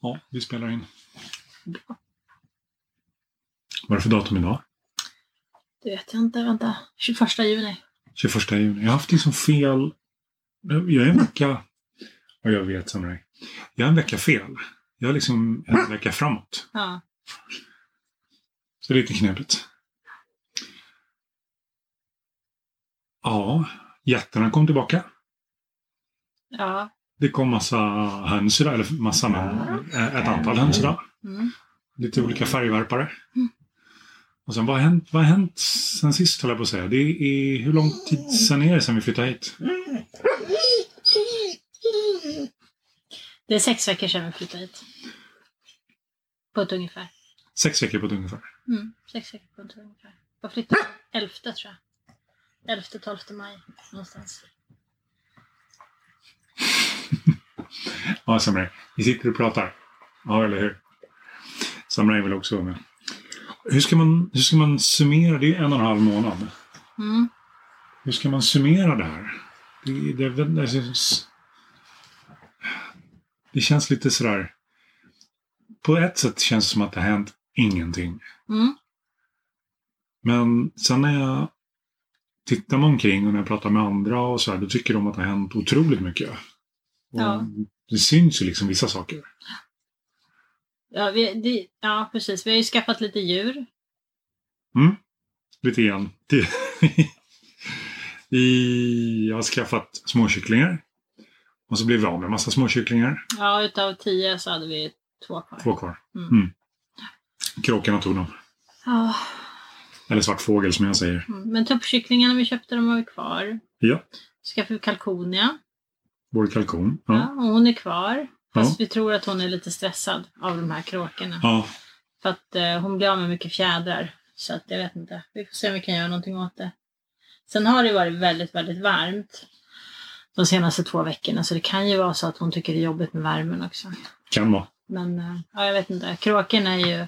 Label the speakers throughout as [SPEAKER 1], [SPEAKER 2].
[SPEAKER 1] Ja, vi spelar in. Vad är det för datum idag?
[SPEAKER 2] Det vet jag inte, vänta. 21 juni.
[SPEAKER 1] 21 juni. Jag har haft liksom fel... Jag är en vecka... Ja, jag vet, Samurai. Jag är en vecka fel. Jag är liksom en vecka framåt.
[SPEAKER 2] Ja.
[SPEAKER 1] Så det är lite knepigt. Ja, jättarna kom tillbaka.
[SPEAKER 2] Ja.
[SPEAKER 1] Det kom massa höns idag, eller massa men eh, ett antal höns idag.
[SPEAKER 2] Mm.
[SPEAKER 1] Lite olika färgvärpare. Och sen vad har hänt, vad har hänt sen sist höll jag på att säga. Det är, hur lång tid sen är det sen vi flyttade hit?
[SPEAKER 2] Det är sex veckor sedan vi flyttade hit. På ett ungefär.
[SPEAKER 1] Sex veckor på ett ungefär.
[SPEAKER 2] Mm. Sex veckor på ett ungefär. Jag flyttade den 11 tror jag. 11, 12 maj någonstans.
[SPEAKER 1] Ja, Samurai. Vi sitter och pratar. Ja, eller hur? Samurai vill också vara med. Hur ska, man, hur ska man summera? Det är en och en halv månad.
[SPEAKER 2] Mm.
[SPEAKER 1] Hur ska man summera det här? Det, det, det, det, känns- det känns lite sådär... På ett sätt känns det som att det har hänt ingenting.
[SPEAKER 2] Mm.
[SPEAKER 1] Men sen när jag tittar mig omkring och när jag pratar med andra och så här, då tycker de att det har hänt otroligt mycket. Och
[SPEAKER 2] Ja.
[SPEAKER 1] Det syns ju liksom vissa saker.
[SPEAKER 2] Ja, vi, det, ja, precis. Vi har ju skaffat lite djur.
[SPEAKER 1] Lite grann. Det- I, jag har skaffat småkycklingar. Och så blev vi av med en massa småkycklingar.
[SPEAKER 2] Ja, utav tio så hade vi två kvar.
[SPEAKER 1] Två kvar.
[SPEAKER 2] Mm.
[SPEAKER 1] Mm. Kråkorna tog dem.
[SPEAKER 2] Ja.
[SPEAKER 1] Eller svartfågel som jag säger.
[SPEAKER 2] Mm. Men tuppkycklingarna vi köpte, de har vi kvar.
[SPEAKER 1] Ja,
[SPEAKER 2] Skaffade vi kalkonia.
[SPEAKER 1] vår kalkon.
[SPEAKER 2] Ja.
[SPEAKER 1] Ja.
[SPEAKER 2] och hon är kvar. Fast
[SPEAKER 1] Ja.
[SPEAKER 2] vi tror att hon är lite stressad av de här kråkorna.
[SPEAKER 1] Ja.
[SPEAKER 2] För att eh, hon blir av med mycket fjädrar. Så att jag vet inte. Vi får se om vi kan göra någonting åt det. Sen har det varit väldigt, väldigt varmt de senaste två veckorna. Så det kan ju vara så att hon tycker det är jobbigt med värmen också.
[SPEAKER 1] kan vara.
[SPEAKER 2] Men eh, ja, jag vet inte. Kråkorna är ju,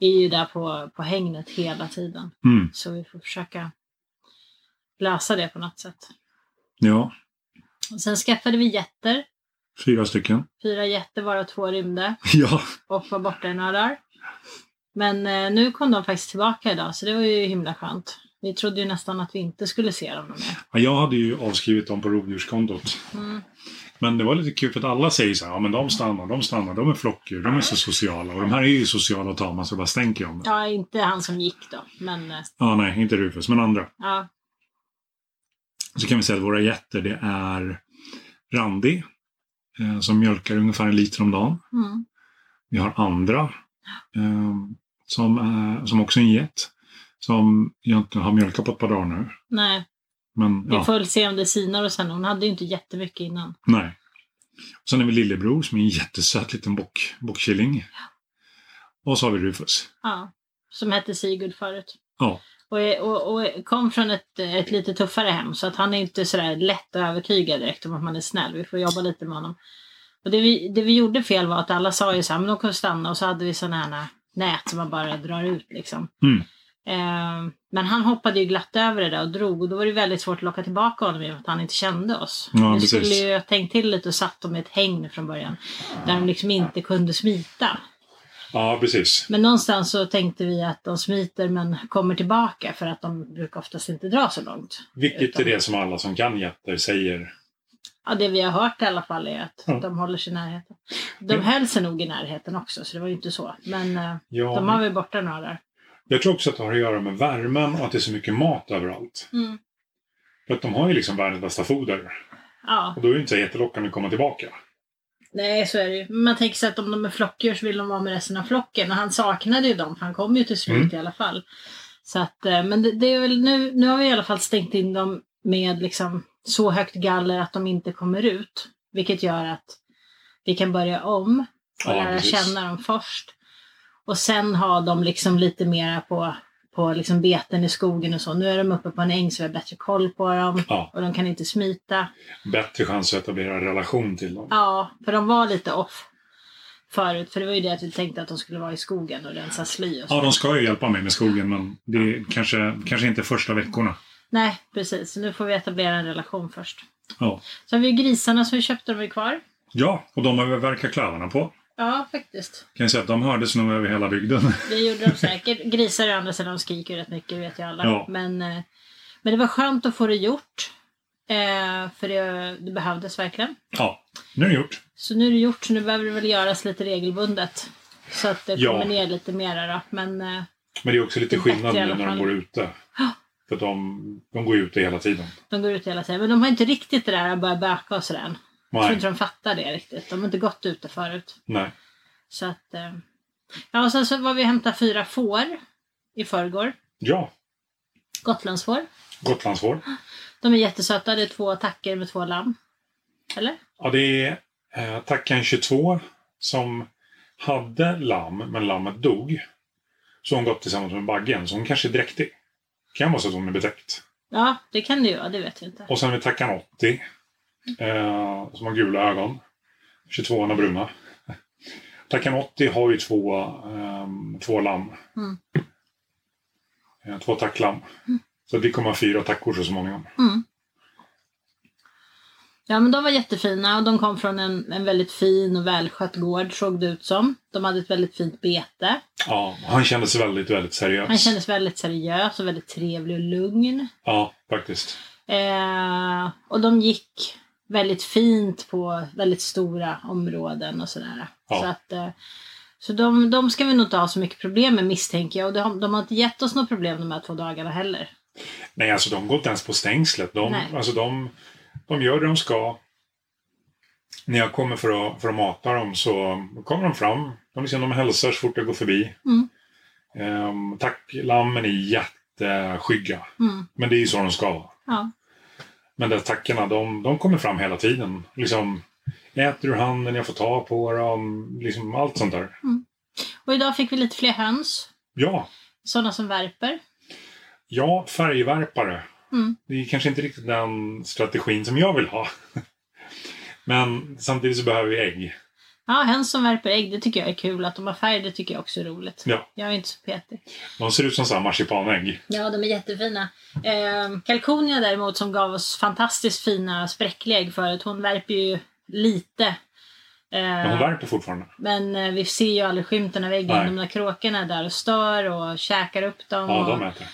[SPEAKER 2] är ju där på, på hängnet hela tiden.
[SPEAKER 1] Mm.
[SPEAKER 2] Så vi får försöka lösa det på något sätt.
[SPEAKER 1] Ja,
[SPEAKER 2] Och sen skaffade vi getter.
[SPEAKER 1] fyra stycken.
[SPEAKER 2] Fyra getter varav två rymde.
[SPEAKER 1] Ja,
[SPEAKER 2] och var borta i några dagar. Men eh, nu kom de faktiskt tillbaka idag så det var ju himla skönt. Vi trodde ju nästan att vi inte skulle se dem någon mer.
[SPEAKER 1] Ja, jag hade ju avskrivit dem på rovdjurskontot.
[SPEAKER 2] Mm.
[SPEAKER 1] Men det var lite kul för att alla säger så här, ja men de stannar, de stannar, de är flockdjur, de är så sociala. Och de här är ju sociala och tama så det bara stänker om det.
[SPEAKER 2] Ja, inte han som gick då, men eh,
[SPEAKER 1] Ja, nej, inte Rufus, men andra.
[SPEAKER 2] ja.
[SPEAKER 1] Så kan vi säga att våra getter det är Randi, eh, som mjölkar ungefär en liter om dagen.
[SPEAKER 2] Mm.
[SPEAKER 1] Vi har andra, eh, som, eh, som också är en get. Som jag inte har mjölkat på ett par dagar nu.
[SPEAKER 2] Nej,
[SPEAKER 1] Men
[SPEAKER 2] vi
[SPEAKER 1] ja,
[SPEAKER 2] får väl se om det sinar och sen. Hon hade ju inte jättemycket innan.
[SPEAKER 1] nej. Och sen har vi lillebror som är en jättesöt liten bock, bockkilling. Och så har vi Rufus.
[SPEAKER 2] Ja. Som hette Sigurd förut.
[SPEAKER 1] Ja.
[SPEAKER 2] Och, är- och, och kom från ett, ett lite tuffare hem så att han är inte sådär lätt att övertyga direkt om att man är snäll. Vi får jobba lite med honom. Och det vi, det vi gjorde fel var att alla sa ju så här, men de kan stanna och så hade vi sådana här nät som man bara drar ut liksom.
[SPEAKER 1] Mm.
[SPEAKER 2] Eh, men han hoppade ju glatt över det där och drog och då var det väldigt svårt att locka tillbaka honom i och med att han inte kände oss.
[SPEAKER 1] Ja,
[SPEAKER 2] vi
[SPEAKER 1] precis.
[SPEAKER 2] skulle ju ha tänkt till lite och satt dem i ett hägn från början. Där de liksom inte kunde smita.
[SPEAKER 1] Ja, precis.
[SPEAKER 2] Men någonstans så tänkte vi att de smiter men kommer tillbaka för att de brukar oftast inte dra så långt.
[SPEAKER 1] Vilket är
[SPEAKER 2] Utan-
[SPEAKER 1] det som alla som kan jätter säger.
[SPEAKER 2] Ja, det vi har hört i alla fall är att
[SPEAKER 1] Ja.
[SPEAKER 2] de håller sig i närheten. De
[SPEAKER 1] Mm.
[SPEAKER 2] höll sig nog i närheten också, så det var ju inte så. Men eh,
[SPEAKER 1] Ja,
[SPEAKER 2] de har väl borta några där.
[SPEAKER 1] Jag tror också att det har att göra med värmen och att det är så mycket mat överallt. För att de har ju liksom världens bästa foder.
[SPEAKER 2] Ja,
[SPEAKER 1] Och då är det inte så jättelockande att komma tillbaka.
[SPEAKER 2] nej så är det ju. Men man tänker sig att om de är flockdjur så vill de vara med resten av flocken. Och han saknade ju dem, för han kom ju till slut
[SPEAKER 1] Mm.
[SPEAKER 2] i alla fall. Så att, eh, men det, det är väl nu, nu har vi i alla fall stängt in dem med liksom så högt galler att de inte kommer ut. Vilket gör att vi kan börja om. och lära känna dem först. Och sen ha dem liksom lite mera på, på liksom beten i skogen och så. Nu är de uppe på en äng så vi har bättre koll på dem.
[SPEAKER 1] Ja,
[SPEAKER 2] Och de kan inte smita.
[SPEAKER 1] bättre chans att etablera en relation till dem.
[SPEAKER 2] Ja, för de var lite off förut. För det var ju det att vi tänkte att de skulle vara i skogen och rensa sly och så.
[SPEAKER 1] Ja, de ska ju hjälpa mig med skogen men det är kanske, kanske inte första veckorna.
[SPEAKER 2] Nej, precis. Så nu får vi etablera en relation först.
[SPEAKER 1] Ja.
[SPEAKER 2] Så har vi ju grisarna som vi köpte, de är kvar.
[SPEAKER 1] ja, och de har vi verkat klövarna på.
[SPEAKER 2] Ja, faktiskt.
[SPEAKER 1] Kan jag säga att de hördes nog över hela bygden.
[SPEAKER 2] Det gjorde de säkert. Grisar å andra sidan de skriker rätt mycket, det vet ju alla.
[SPEAKER 1] Ja.
[SPEAKER 2] Men, eh, men det var skönt att få det gjort. Eh, för det, det behövdes verkligen.
[SPEAKER 1] Ja, nu är det gjort.
[SPEAKER 2] Så nu är det gjort, så nu behöver det väl göras lite regelbundet. Så att det
[SPEAKER 1] Ja.
[SPEAKER 2] kommer ner lite mera då. Men eh,
[SPEAKER 1] Men det är också lite
[SPEAKER 2] Det är bättre
[SPEAKER 1] skillnad
[SPEAKER 2] i
[SPEAKER 1] nu
[SPEAKER 2] alla
[SPEAKER 1] när de
[SPEAKER 2] fall.
[SPEAKER 1] går ute.
[SPEAKER 2] Ja.
[SPEAKER 1] För de, de går ju ute hela tiden.
[SPEAKER 2] de går ut hela tiden. Men de har inte riktigt det där att börja böka och sådär än. Jag tror
[SPEAKER 1] Nej.
[SPEAKER 2] inte de fattar det riktigt. De har inte gått ute förut.
[SPEAKER 1] Nej.
[SPEAKER 2] Så att... Eh, ja, och sen så var vi och hämtade fyra får i förrgår.
[SPEAKER 1] Ja,
[SPEAKER 2] Gotlandsfår.
[SPEAKER 1] Gotlandsvår.
[SPEAKER 2] De är jättesöta. Det är två attacker med två lamm. Eller?
[SPEAKER 1] Ja, det är eh, Tackan 22 som hade lamm, men lammet dog. Så hon gått tillsammans med baggen, så hon kanske är dräktig. Kan vara så att hon är bedräkt.
[SPEAKER 2] Ja, det kan det ju vara. Det vet jag inte.
[SPEAKER 1] Och sen har vi Tackan 80. Eh, som har gula ögon. 22 är bruna. Tackan 80 har ju två, ehm, två lamm.
[SPEAKER 2] Mm.
[SPEAKER 1] Eh, två tacklamm. Så vi kommer ha fyra tackor så småningom.
[SPEAKER 2] Mm. Ja, men de var jättefina och de kom från en, en väldigt fin och välskött gård såg det ut som. De hade ett väldigt fint bete.
[SPEAKER 1] Ja, han kändes väldigt, väldigt seriös.
[SPEAKER 2] Han kändes väldigt seriös och väldigt trevlig och lugn.
[SPEAKER 1] Ja, faktiskt.
[SPEAKER 2] Eh, och de gick väldigt fint på väldigt stora områden och sådär.
[SPEAKER 1] Ja.
[SPEAKER 2] Så, att, eh, så de, de ska vi nog inte ha så mycket problem med misstänker jag. Och de, de har inte gett oss något problem de här två dagarna heller.
[SPEAKER 1] Nej, alltså de går inte ens på stängslet. De,
[SPEAKER 2] Nej.
[SPEAKER 1] alltså, de, de gör det de ska. När jag kommer för att, för att mata dem så kommer de fram. De, liksom, de hälsar så fort jag går förbi.
[SPEAKER 2] Mm.
[SPEAKER 1] Ehm, tacklammen är jätteskygga.
[SPEAKER 2] Mm,
[SPEAKER 1] Men det är ju så de ska vara.
[SPEAKER 2] ja.
[SPEAKER 1] Men de attackerna, de, de kommer fram hela tiden. Liksom, jag äter ur handen, jag får ta på dem. Liksom allt sånt där.
[SPEAKER 2] Och idag fick vi lite fler höns.
[SPEAKER 1] Ja,
[SPEAKER 2] Sådana som värper.
[SPEAKER 1] ja färgvärpare.
[SPEAKER 2] Mm.
[SPEAKER 1] Det är kanske inte riktigt den strategin som jag vill ha. Men samtidigt så behöver vi ägg.
[SPEAKER 2] Ja, höns som värper ägg, det tycker jag är kul. Att de har färg, det tycker jag också är roligt.
[SPEAKER 1] Ja.
[SPEAKER 2] Jag är inte så petig.
[SPEAKER 1] De ser ut som så här marsipanägg.
[SPEAKER 2] Ja, de är jättefina. Eh, Kalkonia däremot som gav oss fantastiskt fina spräckliga ägg förut, hon värper ju lite.
[SPEAKER 1] Men hon
[SPEAKER 2] Eh,
[SPEAKER 1] värper fortfarande.
[SPEAKER 2] men eh, vi ser ju aldrig skymten av
[SPEAKER 1] Nej.
[SPEAKER 2] äggen. De där kråkorna är där och stör och käkar upp dem.
[SPEAKER 1] Ja,
[SPEAKER 2] och...
[SPEAKER 1] de äter.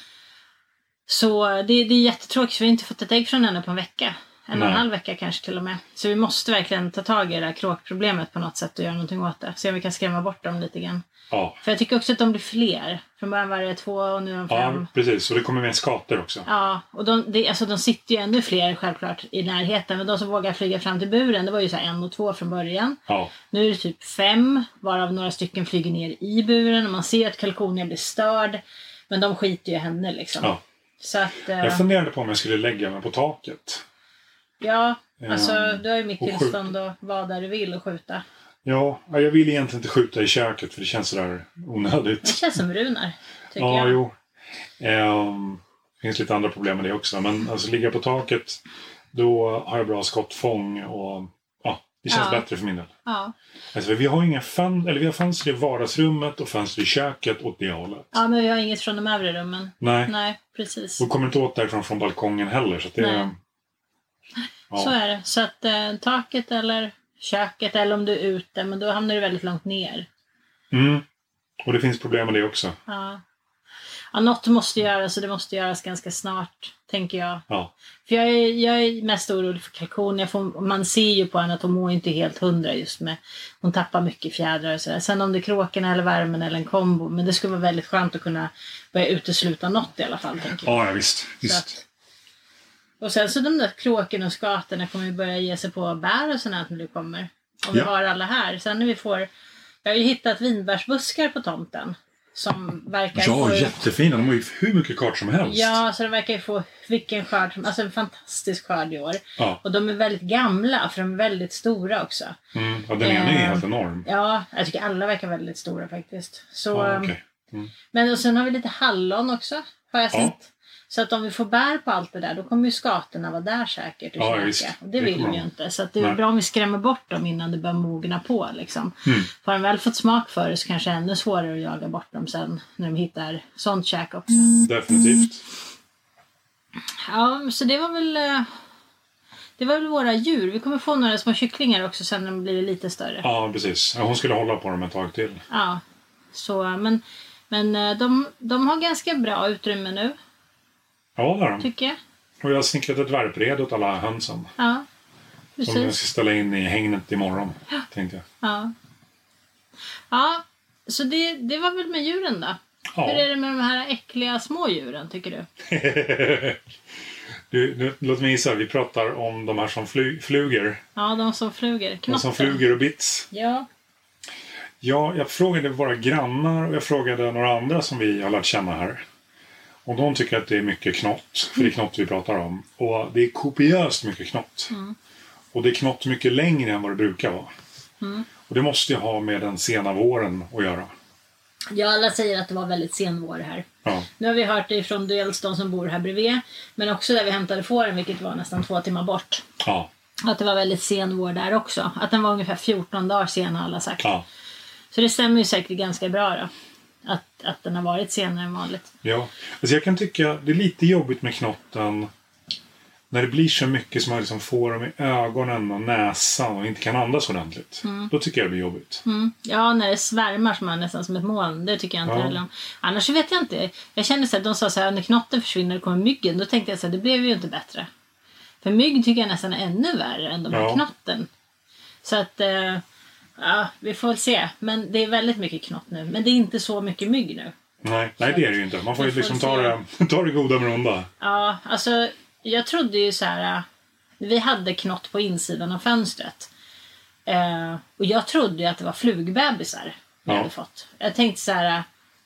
[SPEAKER 2] Så det, det är jättetråkigt för vi har inte fått ett ägg från henne på en vecka. En och en
[SPEAKER 1] Nej.
[SPEAKER 2] halv vecka kanske till och med. Så vi måste verkligen ta tag i det här kråkproblemet på något sätt och göra någonting åt det. Se om vi kan skrämma bort dem lite grann.
[SPEAKER 1] Ja.
[SPEAKER 2] För jag tycker också att de blir fler. Från början var det två och nu är de fem.
[SPEAKER 1] ja, precis. Och det kommer med skator också.
[SPEAKER 2] Ja, och de, det, alltså, de sitter ju ännu fler självklart i närheten. Men de som vågar flyga fram till buren, det var ju så här en och två från början.
[SPEAKER 1] Ja,
[SPEAKER 2] Nu är det typ fem, varav några stycken flyger ner i buren. Och man ser att kalkonen blir störd. Men de skiter ju i henne liksom.
[SPEAKER 1] Ja.
[SPEAKER 2] Så att, eh,
[SPEAKER 1] Jag funderade på om jag skulle lägga mig på taket.
[SPEAKER 2] ja, alltså
[SPEAKER 1] Ehm,
[SPEAKER 2] du har ju mitt
[SPEAKER 1] och skjut.
[SPEAKER 2] tillstånd att vara där du vill och skjuta.
[SPEAKER 1] Ja, ja, jag vill egentligen inte skjuta i köket för det känns sådär
[SPEAKER 2] Det
[SPEAKER 1] onödigt.
[SPEAKER 2] känns som Runar, tycker
[SPEAKER 1] Ja,
[SPEAKER 2] jag.
[SPEAKER 1] jo. Ehm, det finns lite andra problem med det också. Men alltså ligga på taket, då har jag bra skottfång och ja, det känns
[SPEAKER 2] Ja.
[SPEAKER 1] bättre för min del.
[SPEAKER 2] Ja.
[SPEAKER 1] Alltså, vi har inga fönster, eller vi har fönster i vardagsrummet och fönster i köket åt det hållet.
[SPEAKER 2] ja, men vi har inget från de övre rummen.
[SPEAKER 1] Nej,
[SPEAKER 2] Nej, precis.
[SPEAKER 1] och kommer inte åt därifrån från balkongen heller. Så att det
[SPEAKER 2] Nej. Så
[SPEAKER 1] Ja,
[SPEAKER 2] är det. Så att eh, taket eller köket eller om du är ute, men då hamnar du väldigt långt ner.
[SPEAKER 1] mm. Och det finns problem med det också.
[SPEAKER 2] Ja. Ja, något måste göras och det måste göras ganska snart, tänker jag.
[SPEAKER 1] Ja.
[SPEAKER 2] För jag är, jag är mest orolig för kalkon. Jag får, man ser ju på henne att hon mår inte helt hundra just med... Hon tappar mycket fjädrar och sådär. Sen om det är kråkorna eller värmen eller en kombo. Men det skulle vara väldigt skönt att kunna börja utesluta något i alla fall, tänker jag.
[SPEAKER 1] Ja, ja visst.
[SPEAKER 2] Så
[SPEAKER 1] visst.
[SPEAKER 2] att- Och sen så de där kråkorna och skatorna kommer ju börja ge sig på bär och sånt här när du kommer. Om vi
[SPEAKER 1] Ja.
[SPEAKER 2] har alla här. Sen när vi får... Jag har ju hittat vinbärsbuskar på tomten. Som verkar
[SPEAKER 1] Ja,
[SPEAKER 2] få...
[SPEAKER 1] jättefina. De har ju hur mycket kart som helst.
[SPEAKER 2] Ja, så de verkar ju få vilken skörd som... Alltså en fantastisk skörd i år.
[SPEAKER 1] Ja.
[SPEAKER 2] Och de är väldigt gamla, för de är väldigt stora också.
[SPEAKER 1] Mm. ja den ena är
[SPEAKER 2] Ehm,
[SPEAKER 1] helt enorm.
[SPEAKER 2] Ja, jag tycker alla verkar väldigt stora faktiskt. Så,
[SPEAKER 1] Ja,
[SPEAKER 2] ehm,
[SPEAKER 1] okej.
[SPEAKER 2] Men och sen har vi lite hallon också, har jag
[SPEAKER 1] Ja.
[SPEAKER 2] sett. Så att om vi får bär på allt det där, då kommer ju skatorna vara där säkert och
[SPEAKER 1] Ja,
[SPEAKER 2] käka.
[SPEAKER 1] visst.
[SPEAKER 2] Och
[SPEAKER 1] Det
[SPEAKER 2] det vill
[SPEAKER 1] kommer
[SPEAKER 2] vi ju
[SPEAKER 1] de.
[SPEAKER 2] inte. Så att det är
[SPEAKER 1] Nej.
[SPEAKER 2] bra om vi skrämmer bort dem innan det börjar mogna på. Liksom.
[SPEAKER 1] Mm.
[SPEAKER 2] För har de väl fått smak för det så kanske det är ännu svårare att jaga bort dem sen när de hittar sånt käk också.
[SPEAKER 1] Mm. Definitivt.
[SPEAKER 2] Ja, så det var väl... eh, Det var väl våra djur. Vi kommer få några små kycklingar också sen när de blir lite större.
[SPEAKER 1] Ja, precis. Ja, Hon skulle hålla på dem ett tag till.
[SPEAKER 2] Ja. Så, men men eh, de, de har ganska bra utrymme nu,
[SPEAKER 1] Ja, det har de.
[SPEAKER 2] tycker jag.
[SPEAKER 1] Och jag har snickrat ett värpred åt alla hönsen.
[SPEAKER 2] Ja,
[SPEAKER 1] Som jag
[SPEAKER 2] precis.
[SPEAKER 1] ska ställa in i hägnet imorgon, tänkte jag.
[SPEAKER 2] Ja. ja, så det, det var väl med djuren då. Hur är
[SPEAKER 1] Ja.
[SPEAKER 2] det med de här äckliga små djuren, tycker du?
[SPEAKER 1] Du, nu, låt mig gissa, vi pratar om de här som fly, fluger.
[SPEAKER 2] Ja, de som fluger.
[SPEAKER 1] De
[SPEAKER 2] Knotten.
[SPEAKER 1] som fluger och bits.
[SPEAKER 2] Ja.
[SPEAKER 1] Ja, jag frågade våra grannar och jag frågade några andra som vi har lärt känna här. Och de tycker att det är mycket knott, för det är knott vi pratar om. Och det är kopiöst mycket knott. Och det är knott mycket längre än vad det brukar vara. Och det måste ju ha med den sena våren att göra.
[SPEAKER 2] ja, alla säger att det var väldigt sen vår här.
[SPEAKER 1] Ja,
[SPEAKER 2] Nu har vi hört det från dels de som bor här bredvid, men också där vi hämtade fåren, vilket var nästan två timmar bort.
[SPEAKER 1] ja,
[SPEAKER 2] Att det var väldigt sen vår där också. Att den var ungefär 14 dagar sen har alla sagt.
[SPEAKER 1] ja.
[SPEAKER 2] Så det stämmer ju säkert ganska bra då. Att, att den har varit senare än vanligt.
[SPEAKER 1] Ja, alltså jag kan tycka det är lite jobbigt med knotten när det blir så mycket som man liksom får dem i ögonen och näsan och inte kan andas ordentligt. Då tycker jag det blir jobbigt.
[SPEAKER 2] Mm. Ja, när det svärmar som är nästan som ett moln. Det tycker jag inte
[SPEAKER 1] Ja.
[SPEAKER 2] heller om. Annars så vet jag inte. Jag kände så här, de sa så här, när knotten försvinner och kommer myggen. Då tänkte jag så här, det blev ju inte bättre. För mygg tycker jag nästan är ännu värre än de här
[SPEAKER 1] Ja.
[SPEAKER 2] knotten. Så att, eh, ja, vi får väl se. Men det är väldigt mycket knott nu. Men det är inte så mycket mygg nu.
[SPEAKER 1] Nej, nej det är det ju inte. Man får ju
[SPEAKER 2] Vi får
[SPEAKER 1] liksom
[SPEAKER 2] se.
[SPEAKER 1] ta det, ta det goda med det onda.
[SPEAKER 2] Ja, alltså jag trodde ju så här. eh, Vi hade knott på insidan av fönstret. Eh, och jag trodde ju att det var flugbebisar vi
[SPEAKER 1] Ja.
[SPEAKER 2] hade fått. Jag tänkte så här. eh,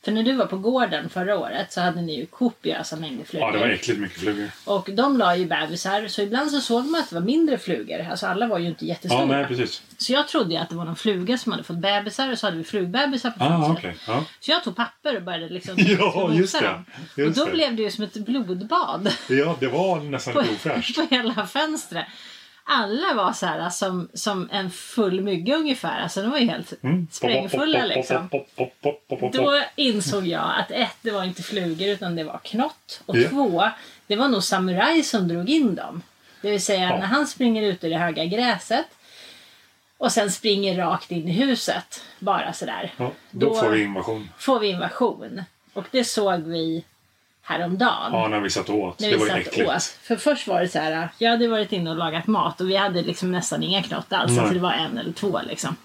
[SPEAKER 2] För när du var på gården förra året så hade ni ju kopiösa mängder flugor.
[SPEAKER 1] Ja, det var äckligt mycket flugor.
[SPEAKER 2] och de la ju bebisar så ibland så såg man att det var mindre flugor. Alltså alla var ju inte
[SPEAKER 1] Ja,
[SPEAKER 2] jättestora.
[SPEAKER 1] nej precis.
[SPEAKER 2] så jag trodde ju att det var någon fluga som hade fått bebisar och så hade vi flugbebisar på fönstret.
[SPEAKER 1] Ah, okej. Ja.
[SPEAKER 2] Så jag tog papper och började liksom
[SPEAKER 1] Ja,
[SPEAKER 2] mosa
[SPEAKER 1] just det.
[SPEAKER 2] dem.
[SPEAKER 1] Just
[SPEAKER 2] och då
[SPEAKER 1] det.
[SPEAKER 2] blev det ju som ett blodbad
[SPEAKER 1] ja, det var nästan lite ofräscht.
[SPEAKER 2] på hela fönstret. Alla var så här som, som en full mygga ungefär. Alltså de var ju helt
[SPEAKER 1] Mm.
[SPEAKER 2] sprängfulla liksom.
[SPEAKER 1] Pop, pop, pop, pop, pop, pop, pop.
[SPEAKER 2] Då insåg jag att ett, det var inte flugor utan det var knott. Och
[SPEAKER 1] Ja.
[SPEAKER 2] två, det var nog samuraj som drog in dem. Det vill säga
[SPEAKER 1] Ja.
[SPEAKER 2] när han springer ut i det höga gräset och sen springer rakt in i huset. Bara sådär.
[SPEAKER 1] Ja, då får vi invasion.
[SPEAKER 2] får vi invasion. Och det såg vi häromdagen.
[SPEAKER 1] Ja, när vi satt och åt.
[SPEAKER 2] När
[SPEAKER 1] det
[SPEAKER 2] vi
[SPEAKER 1] var ju
[SPEAKER 2] satt
[SPEAKER 1] äckligt.
[SPEAKER 2] åt. För först var det så här, jag hade varit inne och lagat mat och vi hade liksom nästan inga knott alls.
[SPEAKER 1] Nej.
[SPEAKER 2] Alltså det var en eller två liksom.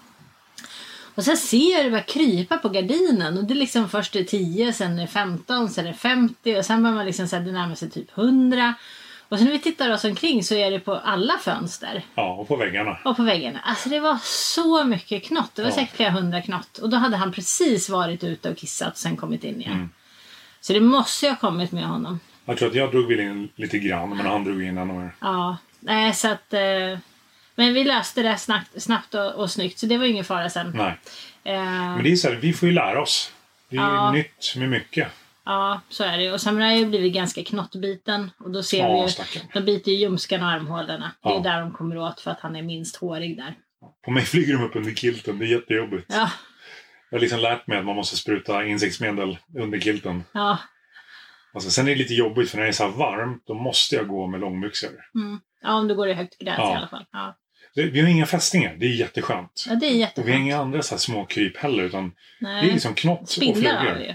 [SPEAKER 2] Och sen ser jag det börja krypa på gardinen och det är liksom först är 10, sen är det 15, sen är det 50 och sen börjar man liksom så här, det närmar sig typ 100. Och sen när vi tittar oss omkring så är det på alla fönster
[SPEAKER 1] Ja, och på väggarna.
[SPEAKER 2] och på väggarna. Alltså det var så mycket knott. Det var
[SPEAKER 1] Ja.
[SPEAKER 2] säkert flera hundra knott. Och då hade han precis varit ute och kissat och sen kommit in igen.
[SPEAKER 1] Mm.
[SPEAKER 2] Så det måste ju ha kommit med honom.
[SPEAKER 1] Jag tror att jag drog väl in lite grann, men han drog in ännu mer.
[SPEAKER 2] Ja, nej så att... Eh, men vi löste det snabbt, snabbt och, och snyggt, så det var ingen fara sen.
[SPEAKER 1] Nej.
[SPEAKER 2] Eh,
[SPEAKER 1] Mm. Men det är så här, vi får ju lära oss. Det är ju
[SPEAKER 2] Ja.
[SPEAKER 1] nytt med mycket.
[SPEAKER 2] Ja, så är det Och sen har jag ju blivit ganska knottbiten. Och då ser
[SPEAKER 1] Ja,
[SPEAKER 2] vi ju...
[SPEAKER 1] stackarn.
[SPEAKER 2] De biter ju ljumskarna och armhålorna. Det
[SPEAKER 1] Ja.
[SPEAKER 2] är där de kommer åt för att han är minst hårig där.
[SPEAKER 1] På mig flyger de upp under kilten, det är jättejobbigt.
[SPEAKER 2] Ja,
[SPEAKER 1] Jag har liksom lärt mig att man måste spruta insektsmedel under kilten.
[SPEAKER 2] ja.
[SPEAKER 1] Alltså, sen är det lite jobbigt för när det är så här varmt, då måste jag gå med långbyxor.
[SPEAKER 2] Mm. Ja, om du går i högt gräs
[SPEAKER 1] Ja.
[SPEAKER 2] i alla fall. Ja,
[SPEAKER 1] Det- Vi har inga fästingar, det är jätteskönt.
[SPEAKER 2] ja det är
[SPEAKER 1] Och vi har
[SPEAKER 2] jätteskönt.
[SPEAKER 1] inga andra så här små kryp heller, utan det är
[SPEAKER 2] Nej.
[SPEAKER 1] liksom knott och
[SPEAKER 2] Spindlar har vi
[SPEAKER 1] flugor.
[SPEAKER 2] ju.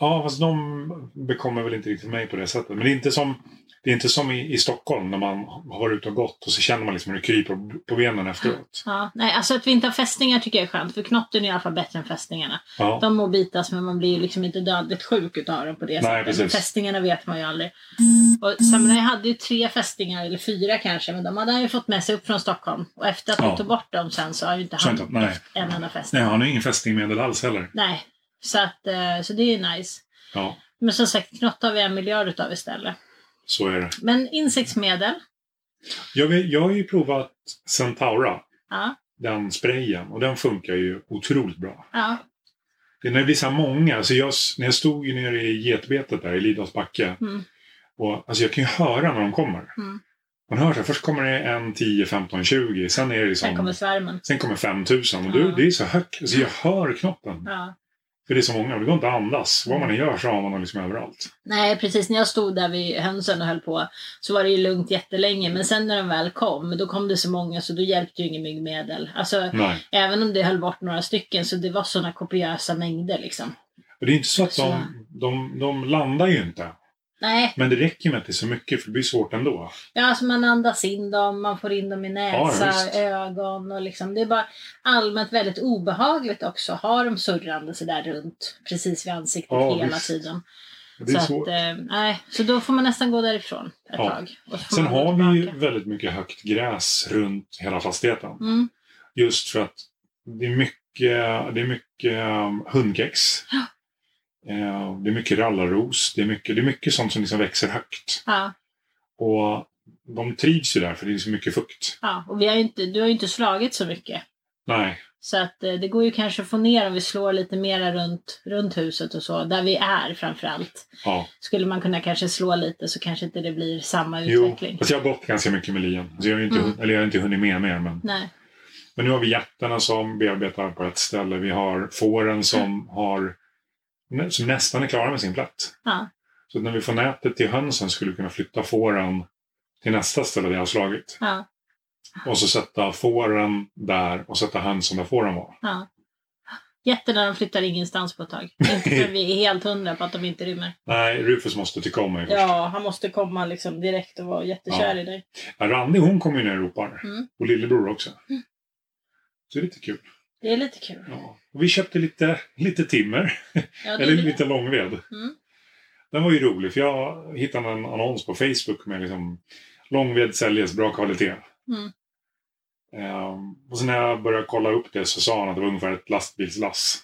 [SPEAKER 1] Ja, fast de bekommer väl inte riktigt mig på det sättet. Men det är inte som, det är inte som i, i Stockholm när man har varit ute och gått och så känner man liksom hur det kryper på benen efteråt.
[SPEAKER 2] Ja, nej, alltså att vi inte har fästingar tycker jag är skönt. För knotten är i alla fall bättre än fästingarna.
[SPEAKER 1] Ja.
[SPEAKER 2] De må bitas men man blir ju liksom inte dödligt sjuk utav dem på det
[SPEAKER 1] Nej,
[SPEAKER 2] sättet.
[SPEAKER 1] precis.
[SPEAKER 2] Men Fästingarna vet man ju aldrig. Och Samurai hade ju tre fästingar, eller fyra kanske, men de hade han ju fått med sig upp från Stockholm. Och efter att
[SPEAKER 1] Ja.
[SPEAKER 2] vi tog bort dem sen så har ju inte
[SPEAKER 1] Så
[SPEAKER 2] han
[SPEAKER 1] inte- nej.
[SPEAKER 2] en enda fästing.
[SPEAKER 1] Nej, han har ingen fästingmedel alls heller.
[SPEAKER 2] Nej, så, att, eh, så det är ju nice.
[SPEAKER 1] Ja,
[SPEAKER 2] Men som sagt, knott har vi en miljard utav istället.
[SPEAKER 1] så är det.
[SPEAKER 2] Men insektsmedel,
[SPEAKER 1] Jag, vet- jag har ju provat Centaura,
[SPEAKER 2] ja.
[SPEAKER 1] den sprayen, och den funkar ju otroligt bra.
[SPEAKER 2] ja.
[SPEAKER 1] Det är när det blir så här många, alltså jag, s- när jag stod ju nere i getbetet där i Lidahls backe,
[SPEAKER 2] Mm.
[SPEAKER 1] och alltså jag kan ju höra när de kommer.
[SPEAKER 2] Mm.
[SPEAKER 1] Man hör så här, först kommer det en 10, 15, 20, sen är det liksom...
[SPEAKER 2] Sen kommer svärmen.
[SPEAKER 1] Sen kommer 5000 och du,
[SPEAKER 2] Ja. Mm.
[SPEAKER 1] det är så högt. Alltså jag hör knoppen.
[SPEAKER 2] Ja.
[SPEAKER 1] För det är så många, det går inte att andas. Vad man än gör så har man dem liksom överallt.
[SPEAKER 2] Nej, precis. När jag stod där vid hönsen och höll på så var det ju lugnt jättelänge. Men sen när de väl kom, då kom det så många så då hjälpte ju inget myggmedel. Alltså,
[SPEAKER 1] Nej.
[SPEAKER 2] även om det höll bort några stycken så det var sådana kopiösa mängder liksom.
[SPEAKER 1] Och det är inte så att
[SPEAKER 2] Så-
[SPEAKER 1] de, de, de landar ju inte.
[SPEAKER 2] Nej,
[SPEAKER 1] Men det räcker med att det är så mycket för det blir svårt ändå.
[SPEAKER 2] ja, alltså man andas in dem, man får in dem i
[SPEAKER 1] Ja,
[SPEAKER 2] näsa,
[SPEAKER 1] visst.
[SPEAKER 2] ögon och liksom. Det är bara allmänt väldigt obehagligt också. Ha dem surrande sådär runt precis vid ansiktet
[SPEAKER 1] Ja,
[SPEAKER 2] hela
[SPEAKER 1] visst.
[SPEAKER 2] tiden.
[SPEAKER 1] Och Det
[SPEAKER 2] Så,
[SPEAKER 1] är
[SPEAKER 2] att,
[SPEAKER 1] svårt.
[SPEAKER 2] eh, nej, så då får man nästan gå därifrån ett
[SPEAKER 1] Ja.
[SPEAKER 2] tag. Och så får
[SPEAKER 1] Sen
[SPEAKER 2] man gå
[SPEAKER 1] har vi ju
[SPEAKER 2] tillbaka.
[SPEAKER 1] väldigt mycket högt gräs runt hela fastigheten.
[SPEAKER 2] Mm.
[SPEAKER 1] Just för att det är mycket, det är mycket eh, hundkex. Eh, Det är mycket rallarros. Det är mycket, det är mycket sånt som liksom växer högt.
[SPEAKER 2] Ja,
[SPEAKER 1] Och de trivs ju där för det är så mycket fukt.
[SPEAKER 2] ja. Och vi har ju inte, du har ju inte slagit så mycket.
[SPEAKER 1] Nej,
[SPEAKER 2] Så att eh, det går ju kanske att få ner om vi slår lite mera runt, runt huset och så, där vi är framförallt.
[SPEAKER 1] ja.
[SPEAKER 2] Skulle man kunna kanske slå lite så kanske inte det blir samma
[SPEAKER 1] Jo,
[SPEAKER 2] utveckling.
[SPEAKER 1] fast jag har bott ganska mycket med lien. Så jag har ju inte,
[SPEAKER 2] Mm.
[SPEAKER 1] eller jag har inte hunnit med mer. Men,
[SPEAKER 2] Nej.
[SPEAKER 1] men nu har vi jätterna som bearbetar på ett ställe. Vi har fåren
[SPEAKER 2] Mm.
[SPEAKER 1] som, har, som nästan är klara med sin plätt.
[SPEAKER 2] Ja.
[SPEAKER 1] Så att när vi får nätet till hönsen skulle vi kunna flytta fåren till nästa ställe där jag har slagit.
[SPEAKER 2] Ja.
[SPEAKER 1] Och så sätta fåren där och sätta hönsen där fåren var.
[SPEAKER 2] Ja. Jätterna de flyttar ingenstans på ett tag. Inte för vi är helt hundra på att de inte rymmer.
[SPEAKER 1] Nej, Rufus måste tycka om mig först.
[SPEAKER 2] Ja, han måste komma liksom direkt och vara jättekär i dig.
[SPEAKER 1] Ja, Randi hon kommer ju ner och ropar.
[SPEAKER 2] Mm.
[SPEAKER 1] Och lillebror också. Så det är lite kul.
[SPEAKER 2] Det är lite kul.
[SPEAKER 1] Ja. Och vi köpte lite, lite timmer.
[SPEAKER 2] Ja, det är
[SPEAKER 1] Eller
[SPEAKER 2] det.
[SPEAKER 1] lite långved.
[SPEAKER 2] Mm.
[SPEAKER 1] Den var ju rolig för jag hittade en annons på Facebook med liksom Långved säljes, bra kvalitet.
[SPEAKER 2] Mm.
[SPEAKER 1] Ehm, och sen när jag började kolla upp det så sa han att det var ungefär ett lastbilslass.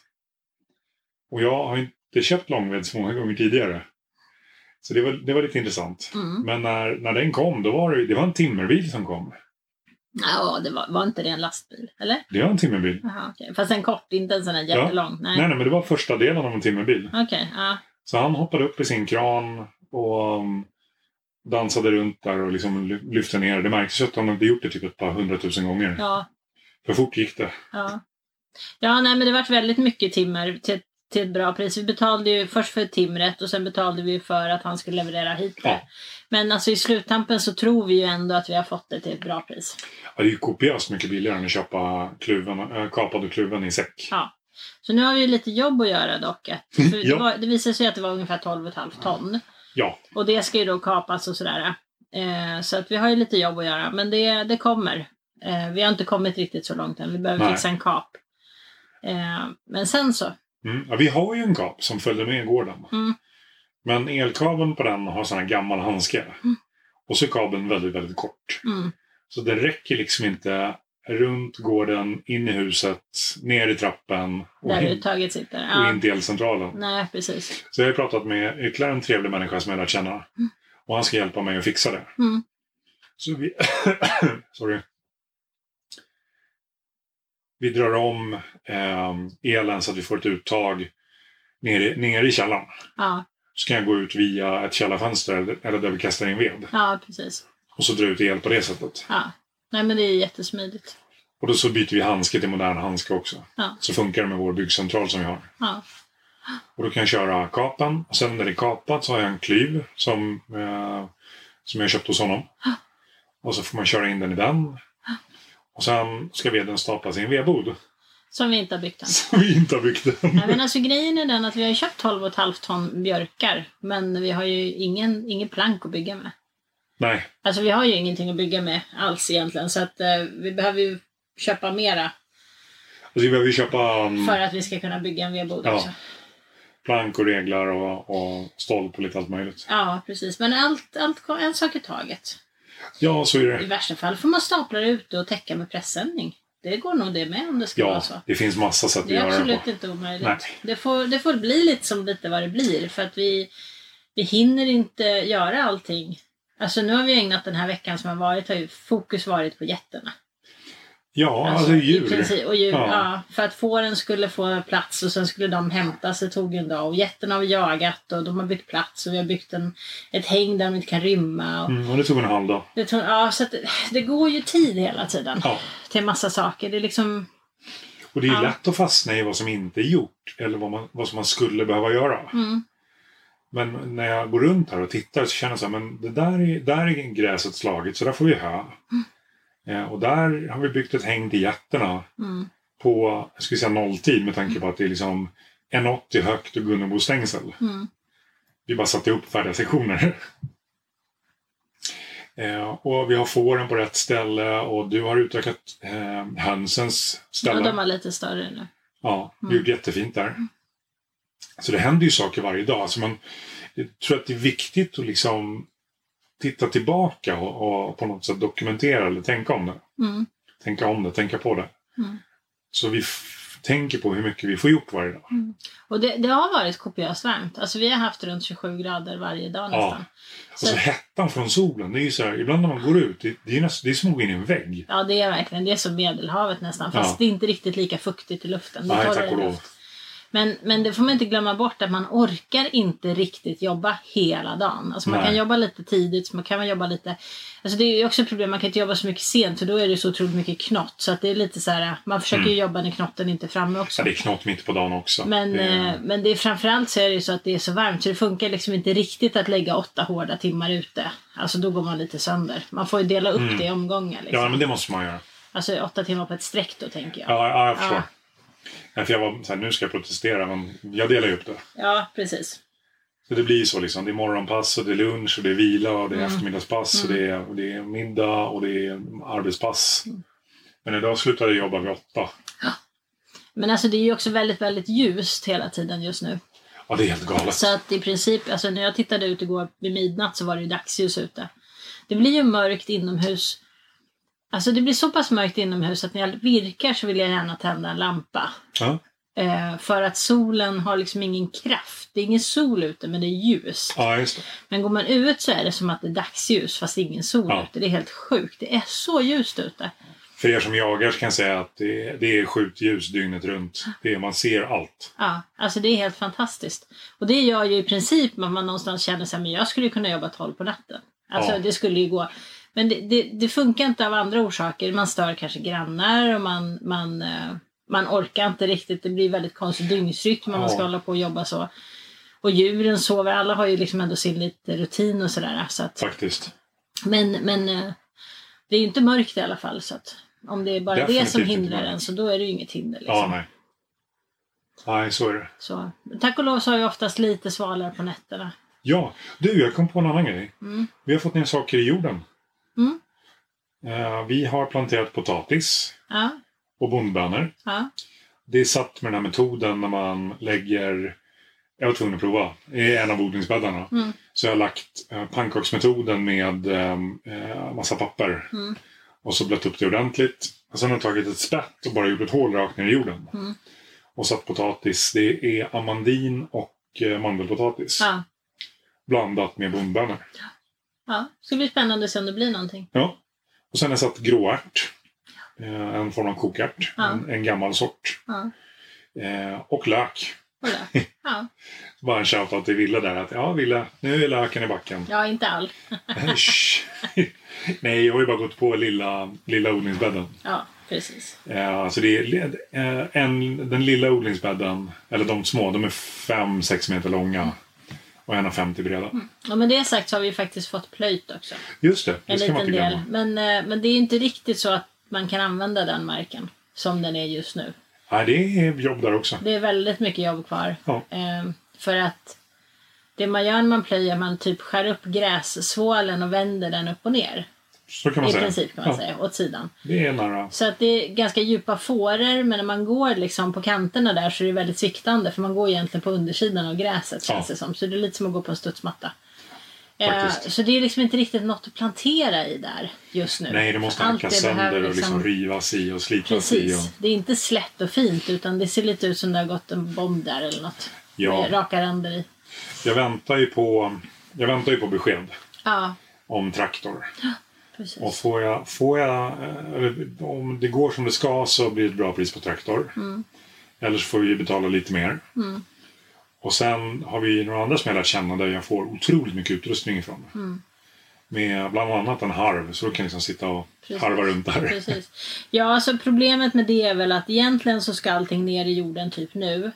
[SPEAKER 1] Och jag har inte köpt långved så många gånger tidigare. Så det var, det var lite intressant.
[SPEAKER 2] Mm.
[SPEAKER 1] Men när, när den kom, då var det, det var en timmerbil som kom.
[SPEAKER 2] Ja, det var, var inte det en lastbil? Eller?
[SPEAKER 1] Det var en timmerbil.
[SPEAKER 2] Jaha, okej. Fast en kort, inte en sån här
[SPEAKER 1] Ja.
[SPEAKER 2] jättelång. Nej.
[SPEAKER 1] Nej, nej, men det var första delen av en timmerbil.
[SPEAKER 2] Okej, ja.
[SPEAKER 1] Så han hoppade upp i sin kran och um, dansade runt där och liksom ly- lyfte ner. Det märktes ju att han hade gjort det typ ett par hundratusen gånger.
[SPEAKER 2] ja,
[SPEAKER 1] För fort gick det.
[SPEAKER 2] ja. Ja, nej men det vart väldigt mycket timmer till, till ett bra pris. Vi betalade ju först för timret och sen betalade vi för att han skulle leverera hit det.
[SPEAKER 1] Ja.
[SPEAKER 2] Men alltså i sluttampen så tror vi ju ändå att vi har fått det till ett bra pris.
[SPEAKER 1] Ja, det är ju kopiöst mycket billigare än att köpa kluven, äh, kapad och kluven i säck.
[SPEAKER 2] Ja. Så nu har vi ju lite jobb att göra dock. att- För
[SPEAKER 1] Ja.
[SPEAKER 2] det, var, det visade sig att det var ungefär 12,5 ton.
[SPEAKER 1] Ja,
[SPEAKER 2] Och det ska ju då kapas och sådär. Eh, så att vi har ju lite jobb att göra. Men det, det kommer. Eh, vi har inte kommit riktigt så långt än. Vi behöver
[SPEAKER 1] Nej.
[SPEAKER 2] fixa en kap. Eh, men sen så.
[SPEAKER 1] mm. ja, vi har ju en kap som följde med gården.
[SPEAKER 2] Mm.
[SPEAKER 1] Men elkabeln på den har sån här gammal handske. Och så är kabeln väldigt, väldigt kort.
[SPEAKER 2] Mm,
[SPEAKER 1] Så det räcker liksom inte runt gården, in i huset, ner i trappen och
[SPEAKER 2] där
[SPEAKER 1] in,
[SPEAKER 2] uttaget sitter.
[SPEAKER 1] och
[SPEAKER 2] Ja.
[SPEAKER 1] in till elcentralen.
[SPEAKER 2] Nej, precis.
[SPEAKER 1] Så jag har ju pratat med ytterligare en trevlig människa som jag lärt känna. Och han ska hjälpa mig att fixa det.
[SPEAKER 2] Mm.
[SPEAKER 1] Så vi... Sorry. Vi drar om ehm, elen så att vi får ett uttag nere, nere i källaren.
[SPEAKER 2] Ja,
[SPEAKER 1] Så kan jag gå ut via ett källarfönster eller- eller där vi kastar in ved.
[SPEAKER 2] ja, precis.
[SPEAKER 1] Och så dra ut el på det sättet.
[SPEAKER 2] Ja. Nej, men det är jättesmidigt.
[SPEAKER 1] Och då så byter vi handske till modern handske också.
[SPEAKER 2] Ja.
[SPEAKER 1] Så funkar det med vår byggcentral som vi har.
[SPEAKER 2] Ja,
[SPEAKER 1] Och då kan jag köra kapan. Och sen när det är kapat så har jag en klyv som, eh, som jag köpt hos honom. Och så får man köra in den i den. Och sen ska veden staplas i en vedbod.
[SPEAKER 2] som vi inte har byggt än.
[SPEAKER 1] Som vi inte har byggt än.
[SPEAKER 2] Nej, men alltså, grejen är den att vi har ju köpt 12,5 ton björkar. Men vi har ju ingen, ingen plank att bygga med.
[SPEAKER 1] Nej,
[SPEAKER 2] Alltså vi har ju ingenting att bygga med alls egentligen så att eh, vi behöver ju köpa mera
[SPEAKER 1] alltså vi behöver ju köpa um,
[SPEAKER 2] för att vi ska kunna bygga en vedbod
[SPEAKER 1] Ja.
[SPEAKER 2] också.
[SPEAKER 1] plank och reglar och, och stolp och lite allt möjligt.
[SPEAKER 2] Ja, precis. Men allt, allt, en sak i taget.
[SPEAKER 1] Ja, så är
[SPEAKER 2] I
[SPEAKER 1] det.
[SPEAKER 2] värsta fall får man stapla det ute och täcka med pressändning. Det går nog det med om det ska vara
[SPEAKER 1] Ja,
[SPEAKER 2] så.
[SPEAKER 1] det finns massa sätt att
[SPEAKER 2] Det är
[SPEAKER 1] göra det
[SPEAKER 2] absolut
[SPEAKER 1] på.
[SPEAKER 2] inte omöjligt.
[SPEAKER 1] Nej.
[SPEAKER 2] Det får, det får bli lite som lite vad det blir för att vi, vi hinner inte göra allting. Alltså nu har vi ägnat den här veckan som har varit, har ju fokus varit på jätterna.
[SPEAKER 1] Ja, alltså,
[SPEAKER 2] Alltså, i
[SPEAKER 1] djur.
[SPEAKER 2] princip, och djur ja.
[SPEAKER 1] Ja.
[SPEAKER 2] för att fåren skulle få plats och sen skulle de hämtas, det tog en dag. Och getterna har vi jagat och de har byggt plats och vi har byggt en, ett häng där de inte kan rymma. Och
[SPEAKER 1] Mm, och det tog en halv dag.
[SPEAKER 2] det, tog, ja, så att, det- det går ju tid hela tiden
[SPEAKER 1] Ja.
[SPEAKER 2] till massa saker. Det är liksom,
[SPEAKER 1] Och det är ju
[SPEAKER 2] Ja.
[SPEAKER 1] lätt att fastna i vad som inte är gjort eller vad, man, vad som man skulle behöva göra.
[SPEAKER 2] Mm.
[SPEAKER 1] Men när jag går runt här och tittar så känner jag så här, men det där är, där är gräset slaget så där får vi hö.
[SPEAKER 2] Mm.
[SPEAKER 1] Eh, och där har vi byggt ett häng till getterna
[SPEAKER 2] Mm.
[SPEAKER 1] på, jag skulle säga nolltid med tanke på att det är liksom 1,80 högt och Gunnebostängsel.
[SPEAKER 2] Mm.
[SPEAKER 1] Vi bara satte ihop färdiga sektioner. Eh, och vi har fåren på rätt ställe och du har utökat eh, hönsens
[SPEAKER 2] Ja,
[SPEAKER 1] ställe.
[SPEAKER 2] de var lite större nu.
[SPEAKER 1] Ja, vi
[SPEAKER 2] Mm.
[SPEAKER 1] gjorde jättefint där. Så det händer ju saker varje dag. Alltså man, jag tror att det är viktigt att liksom titta tillbaka och, och på något sätt dokumentera eller tänka om det.
[SPEAKER 2] Mm.
[SPEAKER 1] Tänka om det, tänka på det.
[SPEAKER 2] Mm.
[SPEAKER 1] Så vi f- tänker på hur mycket vi får gjort varje dag.
[SPEAKER 2] Och det, det har varit kopiöst varmt. Alltså vi har haft runt 27 grader varje dag
[SPEAKER 1] Ja.
[SPEAKER 2] nästan.
[SPEAKER 1] Alltså
[SPEAKER 2] Så-
[SPEAKER 1] hettan från solen, det är ju så här, ibland när man går ut, det, det, är, nästan, det är som att gå in i en vägg.
[SPEAKER 2] Ja, det är verkligen. Det är som Medelhavet nästan. Fast
[SPEAKER 1] Ja.
[SPEAKER 2] det är inte riktigt lika fuktigt i luften. Det är
[SPEAKER 1] Nej,
[SPEAKER 2] torrare
[SPEAKER 1] tack och lov.
[SPEAKER 2] luft. Men, men det får man inte glömma bort att man orkar inte riktigt jobba hela dagen. Alltså man
[SPEAKER 1] Nej.
[SPEAKER 2] kan jobba lite tidigt, man kan jobba lite... Alltså det är ju också ett problem, man kan inte jobba så mycket sent för då är det så otroligt mycket knott. Så att det är lite så här, man försöker
[SPEAKER 1] Mm.
[SPEAKER 2] ju jobba när knotten inte är framme också.
[SPEAKER 1] Ja, det är knott mitt på dagen också.
[SPEAKER 2] Men,
[SPEAKER 1] det, är-
[SPEAKER 2] eh, men det är framförallt så är det ju så att det är så varmt så det funkar liksom inte riktigt att lägga åtta hårda timmar ute. Alltså då går man lite sönder. Man får ju dela upp det i omgångar. Liksom.
[SPEAKER 1] Mm. ja, men det måste man göra.
[SPEAKER 2] Alltså åtta timmar på ett streck då tänker jag. Ja,
[SPEAKER 1] Ja, ja jag förstår.
[SPEAKER 2] Ja.
[SPEAKER 1] Nej, för jag var så här, nu ska jag protestera, men jag delar ju upp det.
[SPEAKER 2] precis.
[SPEAKER 1] Så det blir så liksom. Det är morgonpass och det är lunch och det är vila och det
[SPEAKER 2] Mm.
[SPEAKER 1] är eftermiddagspass och det är, och det är middag och det är arbetspass.
[SPEAKER 2] Mm.
[SPEAKER 1] Men idag slutade jag jobba vid åtta.
[SPEAKER 2] Men alltså det är ju också väldigt, väldigt ljust hela tiden just nu.
[SPEAKER 1] Ja, det är helt galet.
[SPEAKER 2] Så att i princip, alltså när jag tittade ut igår vid midnatt så var det ju dagsljus ute. Det blir ju mörkt inomhus. Alltså det blir så pass mörkt inomhus att när jag virkar så vill jag gärna tända en lampa.
[SPEAKER 1] Ja.
[SPEAKER 2] Eh, för att solen har liksom ingen kraft. Det är ingen sol ute men det är ljus.
[SPEAKER 1] ja, just det.
[SPEAKER 2] Men går man ut så är det som att det är dagsljus fast det är ingen sol
[SPEAKER 1] Ja.
[SPEAKER 2] ute. Det är helt sjukt. Det är så ljust ute.
[SPEAKER 1] För er som jagar så kan jag säga att det, det är skjutljus dygnet runt. Det är, man ser allt.
[SPEAKER 2] Ja, alltså det är helt fantastiskt. Och det gör ju i princip att man någonstans känner sig men jag skulle ju kunna jobba 12 på natten. Alltså
[SPEAKER 1] Ja.
[SPEAKER 2] det skulle ju gå. Men det, det, det funkar inte av andra orsaker. Man stör kanske grannar och man, man, eh, man orkar inte riktigt. Det blir väldigt konstig dygnsrytm om man
[SPEAKER 1] Ja.
[SPEAKER 2] ska hålla på och jobba så. Och djuren sover. Alla har ju liksom ändå sin lite rutin och sådär. Så att,
[SPEAKER 1] Faktiskt.
[SPEAKER 2] men, men eh, det är ju inte mörkt i alla fall. Så att, om det är bara det som
[SPEAKER 1] Definitivt inte
[SPEAKER 2] hindrar
[SPEAKER 1] mörkt.
[SPEAKER 2] en så då är det ju inget hinder. Liksom.
[SPEAKER 1] Ja, nej. Nej, så är det.
[SPEAKER 2] Så, tack och lov så har jag oftast lite svalare på nätterna.
[SPEAKER 1] Ja, du, jag kom på en annan grej.
[SPEAKER 2] Mm.
[SPEAKER 1] Vi har fått ner saker i jorden.
[SPEAKER 2] Mm.
[SPEAKER 1] Eh, vi har planterat potatis
[SPEAKER 2] Ja,
[SPEAKER 1] och bondbönor.
[SPEAKER 2] ja,
[SPEAKER 1] det är satt med den här metoden när man lägger... Jag var tvungen att prova. I en av odlingsbäddarna.
[SPEAKER 2] Mm.
[SPEAKER 1] Så jag har lagt eh, pannkaksmetoden med ehm, eh, massa papper.
[SPEAKER 2] Mm.
[SPEAKER 1] Och så blött upp det ordentligt. Och sen har jag tagit ett spett och bara gjort ett hål rakt ner i jorden.
[SPEAKER 2] Mm.
[SPEAKER 1] Och satt potatis. Det är amandin och eh, mandelpotatis.
[SPEAKER 2] ja,
[SPEAKER 1] Blandat med bondbönor.
[SPEAKER 2] ja. Det ska bli spännande att se om det blir någonting.
[SPEAKER 1] Ja. Och sen har jag satt gråärt. Eh, en form av kokärt.
[SPEAKER 2] Ja.
[SPEAKER 1] En, en gammal sort.
[SPEAKER 2] Ja,
[SPEAKER 1] Eh, och lök.
[SPEAKER 2] kolla. Ja.
[SPEAKER 1] Bara en shoutout till Ville där. Att, ja, Ville, nu är löken i backen.
[SPEAKER 2] ja, inte all.
[SPEAKER 1] Shh. Nej, jag har ju bara gått på lilla, lilla odlingsbädden.
[SPEAKER 2] Ja, precis.
[SPEAKER 1] Eh, alltså det är led, eh, en, den lilla odlingsbädden, eller de små, de är 5-6 meter långa. Och 1,50 breda.
[SPEAKER 2] Ja, men det sagt så har vi faktiskt fått plöjt också.
[SPEAKER 1] Just det, det
[SPEAKER 2] En
[SPEAKER 1] ska man
[SPEAKER 2] liten
[SPEAKER 1] inte
[SPEAKER 2] del.
[SPEAKER 1] glömma.
[SPEAKER 2] Men, eh, men det är inte riktigt så att man kan använda den marken som den är just nu.
[SPEAKER 1] Nej, det är jobb där också.
[SPEAKER 2] Det är väldigt mycket jobb kvar.
[SPEAKER 1] Ja.
[SPEAKER 2] Eh, För att det man gör när man plöjer, man typ skär upp grässvålen och vänder den upp och ner.
[SPEAKER 1] Så kan man
[SPEAKER 2] I
[SPEAKER 1] säga.
[SPEAKER 2] princip kan man
[SPEAKER 1] ja,
[SPEAKER 2] säga, åt sidan.
[SPEAKER 1] Det är nära.
[SPEAKER 2] Så att det är ganska djupa fåror men när man går liksom på kanterna där så är det väldigt sviktande för man går egentligen på undersidan av gräset känns
[SPEAKER 1] Ja.
[SPEAKER 2] det som. Så det är lite som att gå på en studsmatta. Eh,
[SPEAKER 1] Faktiskt.
[SPEAKER 2] så det är liksom inte riktigt något att plantera i där just nu.
[SPEAKER 1] Nej, det måste
[SPEAKER 2] Allt det
[SPEAKER 1] hackas sönder
[SPEAKER 2] behöver
[SPEAKER 1] och liksom rivas i och slipas i. Och...
[SPEAKER 2] Precis. Det är inte slätt och fint utan det ser lite ut som det har gått en bomb där eller något.
[SPEAKER 1] Ja.
[SPEAKER 2] Med raka ränder i.
[SPEAKER 1] Jag, väntar ju på, jag väntar ju på besked
[SPEAKER 2] Ja,
[SPEAKER 1] om traktor.
[SPEAKER 2] precis.
[SPEAKER 1] Och får jag, får jag eh, eller om det går som det ska så blir det ett bra pris på traktor.
[SPEAKER 2] Mm.
[SPEAKER 1] Eller så får vi betala lite mer.
[SPEAKER 2] Mm.
[SPEAKER 1] Och sen har vi några andra som jag lärt känna där jag får otroligt mycket utrustning ifrån. Med bland annat en harv, så du kan liksom sitta och
[SPEAKER 2] Precis.
[SPEAKER 1] harva runt där.
[SPEAKER 2] Precis. Ja, alltså problemet med det är väl att egentligen så ska allting ner i jorden typ nu.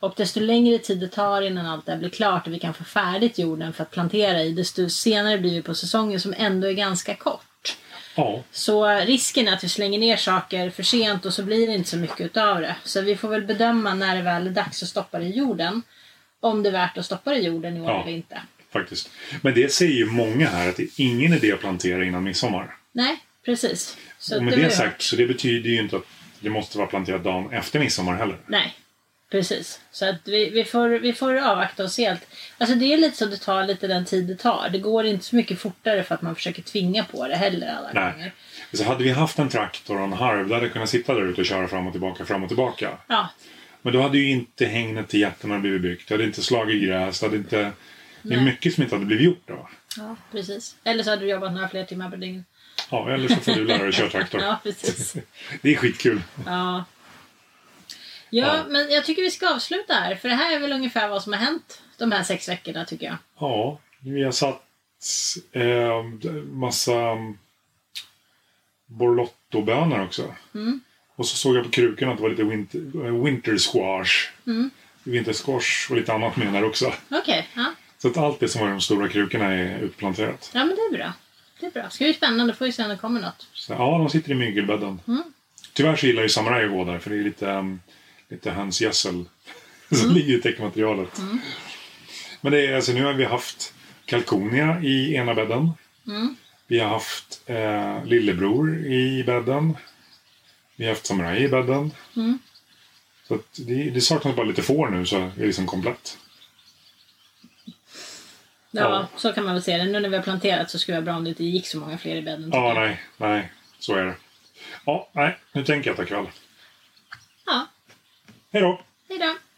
[SPEAKER 2] Och desto längre tid det tar innan allt det här blir klart och vi kan få färdigt jorden för att plantera i, desto senare blir vi på säsongen som ändå är ganska kort.
[SPEAKER 1] Ja,
[SPEAKER 2] Så risken är att vi slänger ner saker för sent och så blir det inte så mycket utav det. Så vi får väl bedöma när det väl är dags att stoppa det i jorden. Om det är värt att stoppa det i jorden i år
[SPEAKER 1] Ja.
[SPEAKER 2] eller inte.
[SPEAKER 1] faktiskt. Men det säger ju många här att det är ingen idé att plantera innan midsommar.
[SPEAKER 2] Nej, precis. Så
[SPEAKER 1] Och med
[SPEAKER 2] var
[SPEAKER 1] det
[SPEAKER 2] ju-
[SPEAKER 1] sagt, så det betyder ju inte att det måste vara planterat dagen efter midsommar heller.
[SPEAKER 2] Nej, precis. Så att vi, vi, får, vi får avvakta och se. Allt. Alltså det är lite så det tar lite den tid det tar. Det går inte så mycket fortare för att man försöker tvinga på det heller alla
[SPEAKER 1] Nej.
[SPEAKER 2] gånger.
[SPEAKER 1] Så hade vi haft en traktor och en harv, då hade jag kunnat sitta där ute och köra fram och tillbaka, fram och tillbaka.
[SPEAKER 2] Ja,
[SPEAKER 1] Men då hade ju inte hängnet till jätterna blivit byggt. Det hade inte slagit gräs. Det, hade inte... det är mycket som inte hade blivit gjort då.
[SPEAKER 2] ja, precis. Eller så hade du jobbat några fler timmar per dygn.
[SPEAKER 1] Ja, eller så får du lära dig att köra traktor.
[SPEAKER 2] Ja, precis.
[SPEAKER 1] Det är skitkul.
[SPEAKER 2] Ja. Ja,
[SPEAKER 1] Ja.
[SPEAKER 2] men jag tycker vi ska avsluta här. För det här är väl ungefär vad som har hänt de här sex veckorna tycker jag.
[SPEAKER 1] Ja, vi har satt eh, massa ehm, borlottobönor också.
[SPEAKER 2] Mm.
[SPEAKER 1] Och så såg jag på krukan att det var lite winter, winter squash.
[SPEAKER 2] Mm.
[SPEAKER 1] Winter squash och lite annat med där också.
[SPEAKER 2] Okej, ja.
[SPEAKER 1] Så att allt det som var i de stora krukorna är utplanterat.
[SPEAKER 2] ja men det är bra. Det är bra. Ska bli spännande, får vi se om det kommer något.
[SPEAKER 1] Så, ja, de sitter i mygelbädden.
[SPEAKER 2] Mm.
[SPEAKER 1] Tyvärr så gillar ju samurajer att gå där för det är lite, um, lite hönsgödsel som
[SPEAKER 2] Mm.
[SPEAKER 1] ligger i täckmaterialet. Men det är, alltså, nu har vi haft kalkonia i ena bädden.
[SPEAKER 2] Mm.
[SPEAKER 1] Vi har haft eh, lillebror i bädden. Vi har haft samuraj i bädden.
[SPEAKER 2] Mm.
[SPEAKER 1] Så att det, det saknas bara lite får nu så är det liksom komplett.
[SPEAKER 2] Ja,
[SPEAKER 1] Ja.
[SPEAKER 2] så kan man väl se det. Nu när vi har planterat så skulle det vara bra om det inte gick så många fler i bädden.
[SPEAKER 1] Ja, nej, nej, så är det. Ja, nej, nu tänker jag ta kväll.
[SPEAKER 2] ja
[SPEAKER 1] Hej då!
[SPEAKER 2] hej då.